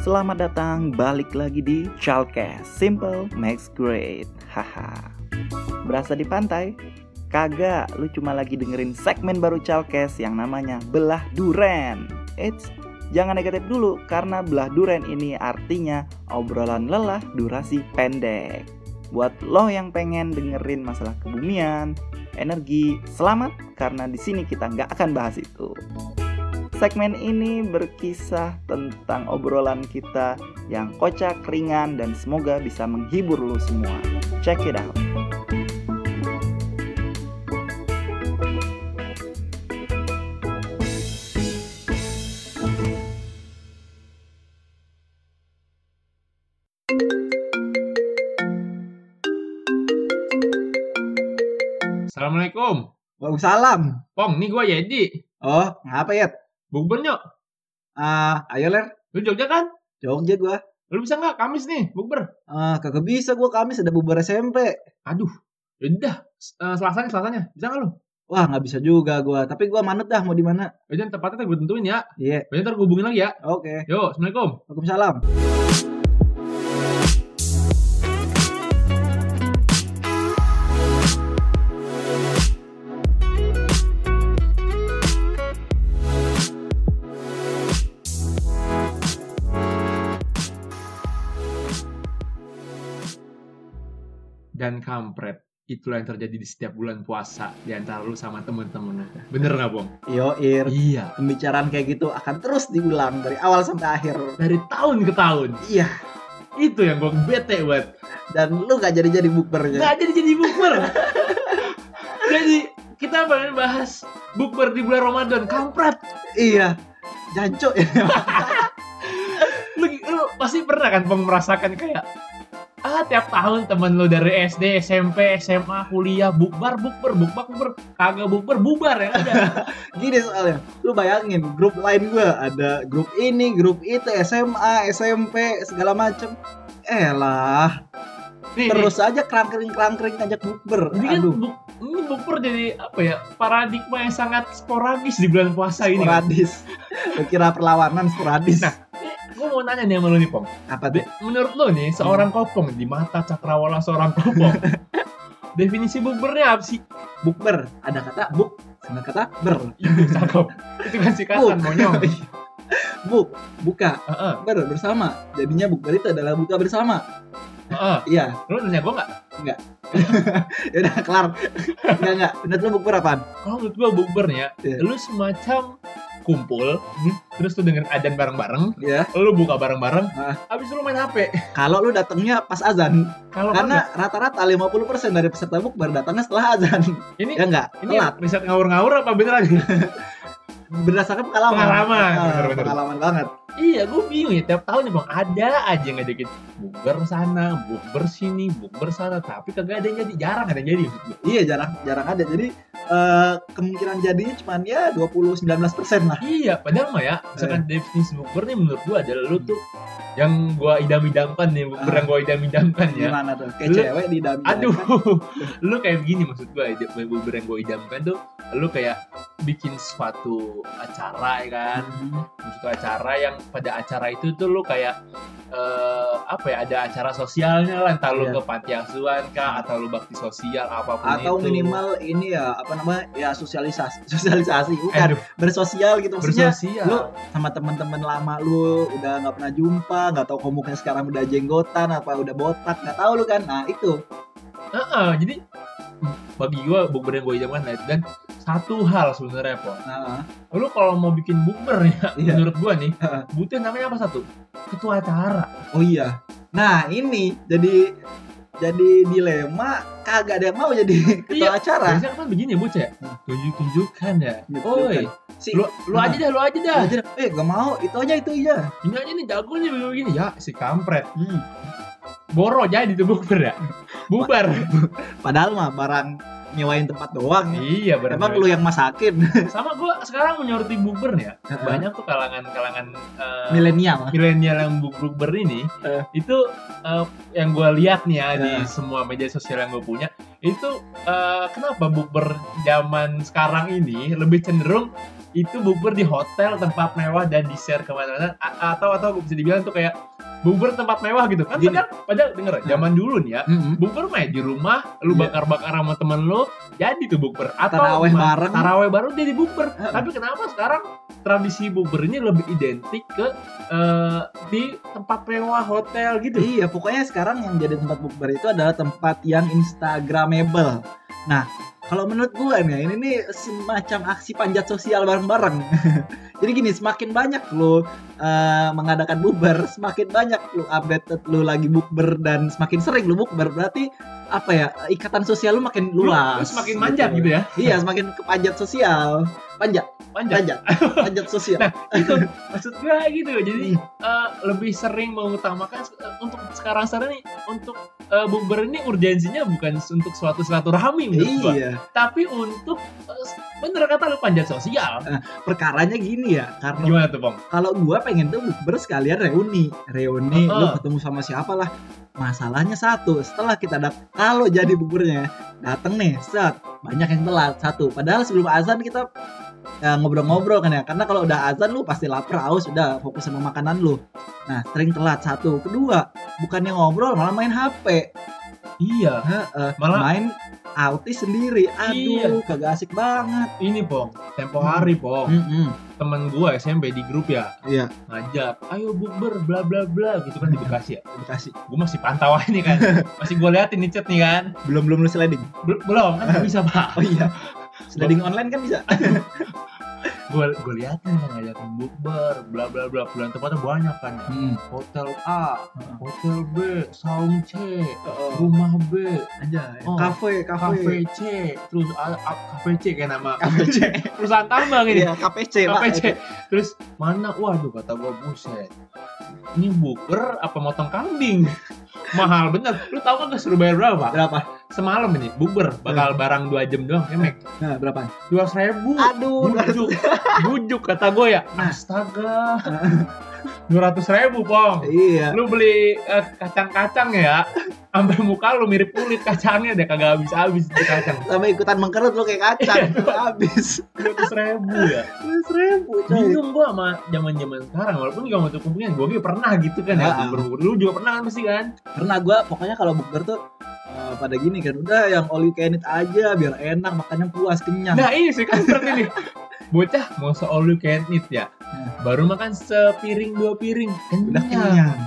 Selamat datang balik lagi di Childcast Simple Makes Great Haha Berasa di pantai? Kagak, lu cuma lagi dengerin segmen baru Childcast yang namanya Belah Duren Eits, jangan negatif dulu karena Belah Duren ini artinya obrolan lelah durasi pendek Buat lo yang pengen dengerin masalah kebumian, energi, selamat karena di sini kita nggak akan bahas itu. Segmen ini berkisah tentang obrolan kita yang kocak, ringan, dan semoga bisa menghibur lo semua. Check it out. Assalamualaikum. Waalaikumsalam. Pong, nih gua Yedi. Oh, ngapa ya? Bukber yuk. Ah, ayo ler, Lu Jogja kan? Jogja gua. Lu bisa nggak Kamis nih bukber? Ah, kagak bisa gua Kamis ada bubar SMP. Aduh. Yaudah. Eh, Selasanya, selasanya. Bisa nggak lu? Wah, nggak bisa juga gua. Tapi gua manut dah mau di mana. Yaudah tepatnya ntar gue tentuin ya. Iya, Yaudah ntar gue hubungin lagi ya. oke. Yo, Assalamualaikum. Waalaikumsalam. Dan kampret. Itulah yang terjadi di setiap bulan puasa. Di antara lu sama temen-temen lu. Bener nggak, Pong? Yo, Ir. Iya. Pembicaraan kayak gitu akan terus diulang dari awal sampai akhir. Dari tahun ke tahun. Iya, Itu yang gue bete buat. dan lu nggak jadi-jadi bukbernya. Nggak jadi-jadi bukber. jadi, kita pengen bahas bukber di bulan Ramadan. Kampret. Iya. Janco ya. lu, lu pasti pernah kan Bang, merasakan kayak ah tiap tahun temen lu dari SD, SMP, SMA, kuliah bukbar, bukber, bukbak, bukber, kagak bukber, bubar ya udah. Gini soalnya, lu bayangin grup lain gua ada grup ini, grup itu, SMA, SMP, segala macem. Eh lah, Nih, terus aja kerangkering-kerangkering ngajak bukber. nih, ini kan Aduh. buk, ini bukber jadi apa ya paradigma yang sangat sporadis di bulan puasa ini. Kan? sporadis. Lu kira perlawanan sporadis. Nah. Gue mau nanya nih sama lu nih Pong. apa tuh? Be- Menurut lu nih seorang Hmm. kopong di mata cakrawala seorang kopong. definisi bukbernya apa sih? Bukber. Ada kata buk sama kata ber. Itu cakep. Itu kan Buk. Iya. sikatan monyong. Buk, buka, Heeh, ber bersama. Jadinya bukber itu adalah buka bersama. heeh. Iya, Lu nanya gue nggak? ya udah kelar. Enggak enggak. Menurut lu bukber apaan? kalau menurut gua bukber nih ya, Iya. Hmm? lu semacam kumpul, terus lu dengerin adan bareng-bareng, Ya, lu buka bareng-bareng, Ah. habis lu main HP. kalau lu datangnya pas azan, Kalau karena rata-rata 50% dari peserta bukber datangnya setelah azan. kagak, ini Ya enggak, ini telat. riset ngawur-ngawur apa beneran? Berdasarkan pengalaman. Pengalaman, Ah, bener-bener. pengalaman banget. iya, gua bingung ya tiap tahun nih bang ada aja yang ngajakin bukber sana, bukber sini, bukber sana, tapi kagak ada yang jadi, jarang ada yang jadi. maksud gua. Iya, jarang jarang ada. Jadi eh, kemungkinan jadinya cuman ya 20 19% lah. Iya, padahal mah ya, Eh. misalkan definisi bukber nih menurut gua adalah lu tuh yang gua idam-idamkan nih, bukber Ah. yang gua idam-idamkan ya. gimana tuh kayak Lu- cewek di dalam Aduh, lu kayak begini maksud gue, bubur yang gue idamkan tuh, lu kayak bikin suatu acara ya kan, suatu acara yang pada acara itu tuh lu kayak eh, apa ya ada acara sosialnya lah, entah lu Iya. ke panti asuhan kah, atau lu bakti sosial apapun atau itu. minimal ini ya apa namanya ya sosialisasi sosialisasi bukan Aduh, bersosial gitu maksudnya bersosial. lu sama teman-teman lama lu udah nggak pernah jumpa nggak tahu komuknya sekarang udah jenggotan apa udah botak nggak tahu lu kan nah itu Heeh, jadi bagi gue bubur yang gue idamkan nah, dan satu hal sebenarnya po, nah, lu kalau mau bikin bubur nih, Iya. menurut gue nih, Heeh. butuh yang namanya apa satu? Ketua acara. oh iya nah ini jadi jadi dilema kagak ada yang mau jadi ketua acara Biasanya kan begini ya bocah ya Hmm. Tunjuk-tunjukkan ya Tunjuk-tunjukkan. Oi si Lu, lu Nah. aja dah, lu aja dah aja eh gak mau itu aja itu aja Ini aja nih jagonya begini Ya si kampret Hmm. Boro jadi tuh bukber ya Bubar padahal mah barang nyewain tempat doang. Iya benar. Emang lu yang masakin sama gue sekarang menyoroti bukber ya. Banyak tuh kalangan-kalangan eh, milenial. milenial yang bukber ini Eh. itu eh, yang gue lihat nih ya di Eh. semua media sosial yang gue punya itu eh, kenapa bukber zaman sekarang ini lebih cenderung itu bukber di hotel tempat mewah dan di share kemana-mana A- atau atau bisa dibilang tuh kayak bukber tempat mewah gitu kan Gini. padahal padahal denger ya, zaman dulu nih ya Mm-mm. bukber mah di rumah lu Eh. Iya. bakar-bakar sama temen lu jadi tuh bukber atau Taraweh ma- bareng. taraweh baru jadi bukber Heeh. tapi kenapa sekarang tradisi bukber ini lebih identik ke eh, di tempat mewah hotel gitu Iya, pokoknya sekarang yang jadi tempat bukber itu adalah tempat yang instagramable. Nah, kalau menurut gua nih, ini nih semacam aksi panjat sosial bareng-bareng. jadi gini, semakin banyak lu eh, mengadakan bukber, semakin banyak lu update lu lagi bukber dan semakin sering lu bukber, berarti apa ya ikatan sosial lu makin Lu- lu luas. semakin manjat gitu ya Iya, semakin ke panjat sosial. Panjat, manjat panjat, panjat sosial. itu maksud gue gitu jadi Iya. eh, lebih sering mengutamakan eh, untuk sekarang sekarang nih untuk eh, bukber ini urgensinya bukan untuk suatu silaturahmi menurut gua. Iya. tapi untuk eh, bener kata lu panjat sosial Perkaranya gini ya, karena gimana tuh bang kalau gua pengen tuh bukber sekalian reuni reuni lu Heeh. ketemu sama siapa lah masalahnya satu setelah kita dat- kalau jadi bukbernya dateng nih set banyak yang telat satu padahal sebelum azan kita ya, ngobrol-ngobrol kan ya karena kalau udah azan lu pasti lapar haus udah fokus sama makanan lu nah sering telat satu kedua bukannya ngobrol malah main hp iya Heeh, Malah- Iya. main autis sendiri aduh kagak asik banget ini pong tempo hari pong Mm-mm. temen gua SMP di grup ya Iya. ngajak ayo bukber bla bla bla gitu kan di Bekasi ya dikasih gua masih pantau aja nih kan masih gua liatin nih chat nih kan belum belum lu sliding Bel- belum kan nggak bisa pak oh iya sliding online kan bisa gua gua liatin kan ngajakin bukber bla bla bla bulan tempatnya banyak kan ya. Hmm. hotel A hotel B saung C rumah B aja ya. Oh. kafe kafe kafe C terus A- A- kafe C kayak nama kafe C perusahaan tambang ini iya KPC pak KPC. Terus mana? Waduh kata gua buset. Ini buker apa motong kambing? Mahal bener. Lu tahu kan gua suruh bayar berapa? berapa Semalam ini buber bakal barang 2 jam doang ya Mek. nah berapa 200 ribu. aduh Bujuk. Bujuk kata gue ya. Astaga. 200 ribu Pong. iya Lu beli eh, kacang-kacang ya. Sampai muka lu mirip kulit kacangnya deh kagak habis-habis itu kacang. sama ikutan mengkerut lu kayak kacang habis 200 ribu ya. terus ribu coy bingung gue sama zaman zaman sekarang walaupun gak untuk kumpulan gue kayak pernah gitu kan ya Ah, ah. bukber dulu juga pernah kan pasti kan pernah gue pokoknya kalau bukber tuh eh, pada gini kan udah yang all you can eat aja biar enak makannya puas kenyang nah ini sih kan seperti ini bocah mau se all you can eat ya Hmm. baru makan sepiring dua piring udah kenyang kenyang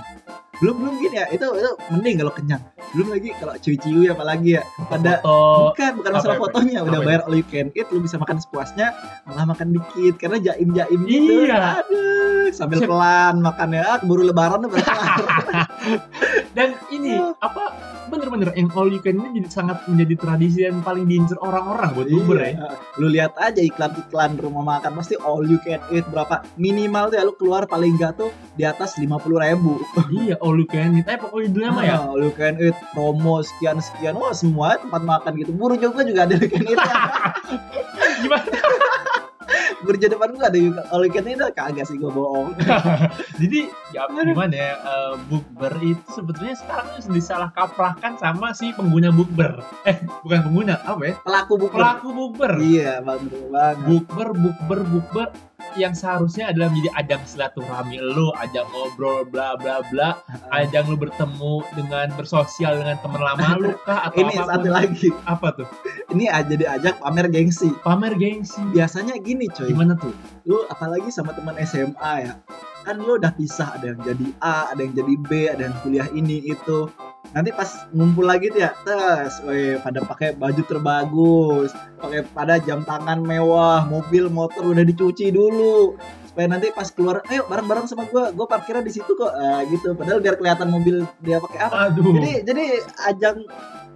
belum belum gini ya itu itu mending kalau kenyang belum lagi kalau ciu-ciu apalagi ya pada foto Bukan, bukan apa, masalah apa, fotonya. Udah apa? bayar all you can eat, lu bisa makan sepuasnya, malah makan dikit karena jaim-jaim gitu. Iya. Aduh, sambil Sip. pelan makannya. Ah, keburu lebaran udah berapa? dan ini apa bener-bener yang all you can ini jadi sangat menjadi tradisi dan paling diincer orang-orang buat bukber ya Iya. Lu lihat aja iklan-iklan rumah makan pasti all you can eat berapa. Minimal tuh ya lu keluar paling enggak tuh di atas 50 ribu. Ah, iya all you can eat eh pokoknya judulnya mah ya all you can eat promo sekian-sekian. Wah, semua tempat makan gitu. Buru juga juga ada all you can eat. gimana Burjo depan gua ada juga all you can eat. Kagak sih gua bohong. Jadi ya gimana ya eh, bukber itu sebetulnya sekarang itu disalah kaprahkan sama si pengguna bukber. Eh bukan pengguna apa ya? Pelaku bukber. Pelaku bukber. Iya, bang, bener banget. Bukber, bukber, bukber yang seharusnya adalah menjadi ajang silaturahmi lo, ajang ngobrol bla bla bla, ajang lu bertemu dengan bersosial dengan teman lama lu kah atau Oh, ini apapun. satu lagi apa tuh? ini aja diajak pamer gengsi Pamer gengsi. biasanya gini coy Gimana tuh? lu apalagi sama teman SMA ya kan lu udah pisah ada yang jadi A ada yang jadi B ada yang kuliah ini itu nanti pas ngumpul lagi tuh ya tes weh pada pakai baju terbagus pakai pada jam tangan mewah mobil motor udah dicuci dulu supaya nanti pas keluar ayo bareng-bareng sama gua gua parkirnya di situ kok Eh, gitu padahal biar kelihatan mobil dia pakai apa Aduh. jadi jadi ajang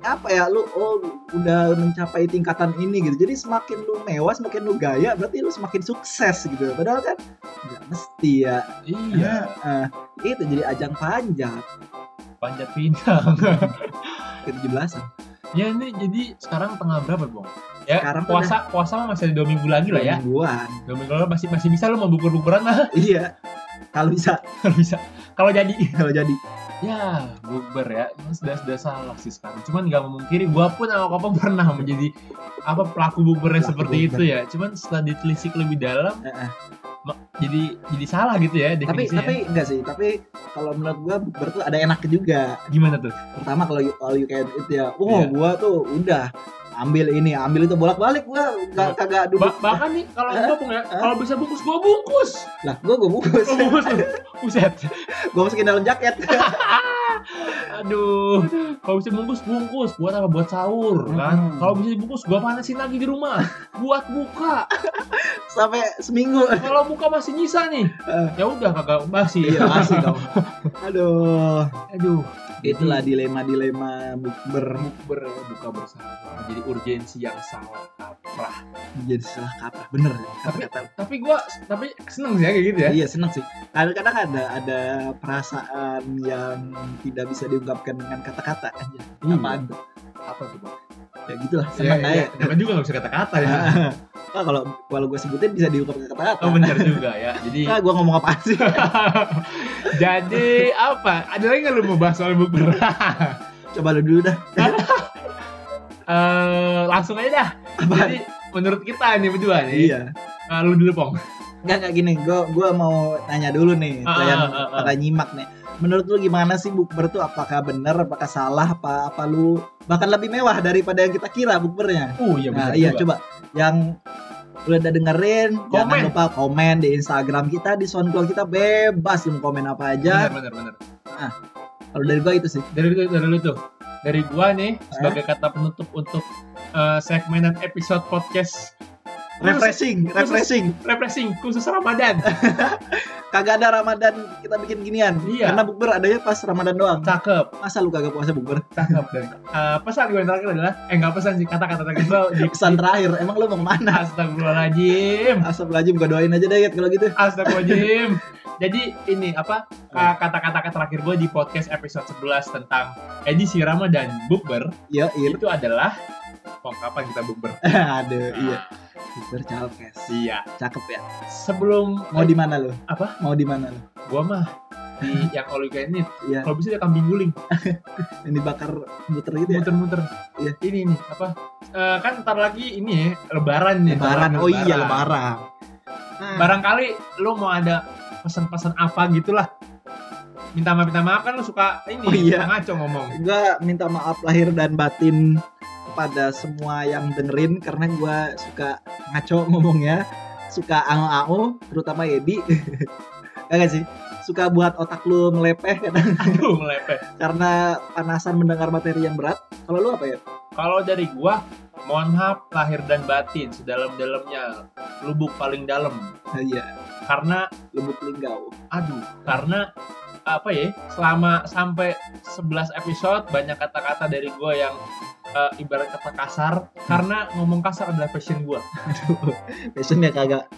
apa ya lu oh udah mencapai tingkatan ini gitu jadi semakin lu mewah semakin lu gaya berarti lu semakin sukses gitu padahal kan nggak mesti ya iya, Eh, itu jadi ajang panjat panjat pinang. ke 17an Ya ini jadi sekarang tengah berapa bong? Ya Sekarang kan tuh puasa puasa mah masih ada dua minggu lagi lah ya. Mingguan. Dua minggu lagi masih masih bisa lo mau bukur bukuran lah Iya. Kalau bisa, kalau bisa. Kalau jadi kalau jadi. ya bubar ya Ini sudah sudah salah sih sekarang. Cuman nggak memungkiri gua pun sama Kopong pernah menjadi apa pelaku buburnya Pelaku seperti bukber. itu ya. Cuman setelah ditelisik lebih dalam Eh, eh. jadi jadi salah gitu ya Tapi definisinya. tapi enggak sih. Tapi kalau menurut gua bukber tuh ada enak juga. gimana tuh? Pertama kalau you- all you can eat ya. Oh, Iya. gua tuh udah ambil ini, ambil itu bolak-balik gua enggak kagak Ba duduk. bahkan nih kalau Eh? gua Bung, ya, Eh? kalau bisa bungkus gua bungkus. Lah, gua gua bungkus. Gua bungkus tuh. Buset. gua masukin dalam jaket. Aduh, kalau bisa bungkus bungkus buat apa? Buat sahur kan? Hmm. Kalau bisa dibungkus gua panasin lagi di rumah buat buka. Sampai seminggu. Kalau buka masih nyisa nih, Eh. ya udah kagak basi. Iya, masih dong. Aduh. Aduh, Itulah Hmm. dilema-dilema bukber bukber ya, buka bersama. Jadi urgensi yang salah kaprah. jadi salah kaprah. Bener. ya, Kata-kata Tapi gua tapi seneng sih ya kayak gitu ya. Iya senang sih. Kadang-kadang ada ada perasaan yang tidak bisa diungkapkan dengan kata-kata aja. Apaan tuh? Apa tuh? Bang? Ya gitulah Hmm. Ya, senang ya, aja. namanya juga gak bisa kata-kata ya. Ah, ah, kalau kalau gue sebutin bisa diungkapkan kata-kata. Oh benar juga ya. Jadi Ah, gue ngomong apa sih? Jadi apa? Ada lagi nggak lu mau bahas soal bukber? Coba lu dulu dah. Eh, langsung aja dah. Apaan? Jadi menurut kita nih berdua nih. Iya. Ah, lu dulu pong. Enggak enggak gini. Gue gua mau nanya dulu nih. Ah, yang ah, ah, pada nyimak nih. Menurut lu gimana sih bukber tuh? Apakah benar? Apakah salah? Apa apa lu bahkan lebih mewah daripada yang kita kira bukbernya? Oh iya Nah, iya coba. yang udah dengerin jangan Komen. lupa komen di Instagram kita di SoundCloud kita bebas lu mau komen apa aja. Benar benar benar. Kalau dari gua itu sih. Dari lu dari lu tuh. Dari gua nih sebagai kata penutup untuk eh, segmen dan episode podcast Refreshing, Khusus- refreshing. refreshing khusus Ramadan. Kagak ada Ramadan kita bikin ginian. Iya. Karena bukber adanya pas Ramadan doang. Cakep, Masa lu kagak puasa bukber? cakep dan eh, pesan gue yang terakhir adalah eh nggak pesan sih kata-kata terakhir gua di Pesan terakhir, emang lu mau kemana? Astagfirullahaladzim. Asap lagi gua doain aja deh Yud, kalau gitu. Astagfirullahaladzim. Jadi ini apa uh, kata-kata terakhir gue di podcast episode 11 tentang edisi Ramadan bukber Ya, iya. itu adalah oh, kapan kita bukber? Aduh, iya. Bukber calkes. Iya. Cakep ya. Sebelum Mau di mana lu? Apa? Mau di mana lu? gue mah di yang all you can eat, Iya, kalau bisa dia kambing guling yang dibakar muter gitu ya. muter-muter. Iya. Ini nih apa? Eh, kan ntar lagi ini ya, lebaran nih. Lebaran. Lebaran, Oh iya, lebaran. Nah, Barangkali lu mau ada pesan-pesan apa gitulah. Minta maaf minta maaf kan lu suka ini Oh suka iya. ngaco ngomong. gue minta maaf lahir dan batin kepada semua yang dengerin karena gue suka ngaco ngomongnya suka angau-angau terutama Yedi kagak sih suka buat otak lu melepeh kadang Aduh melepeh. karena panasan mendengar materi yang berat kalau lu apa ya Kalau dari gua, mohon maaf lahir dan batin sedalam-dalamnya, lubuk paling dalam. Ah, iya Karena lubuk linggau aduh, karena apa ya? Selama sampai 11 episode banyak kata-kata dari gua yang eh, ibarat kata kasar karena ngomong kasar adalah passion gua. passionnya kagak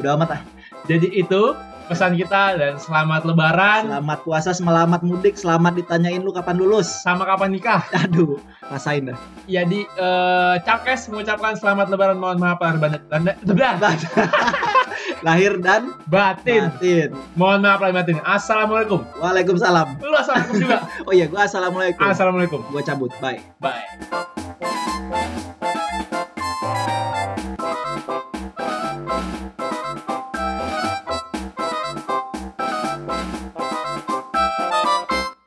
udah amat ah Jadi itu pesan kita dan selamat lebaran selamat puasa selamat mudik selamat ditanyain lu kapan lulus sama kapan nikah. aduh rasain dah Jadi eh Cakes mengucapkan selamat lebaran mohon maaf lahir dan batin. lahir dan batin. batin Mohon maaf lahir batin. Assalamualaikum. waalaikumsalam Lu assalamualaikum juga. oh iya gue assalamualaikum Assalamualaikum. gue cabut bye Bye.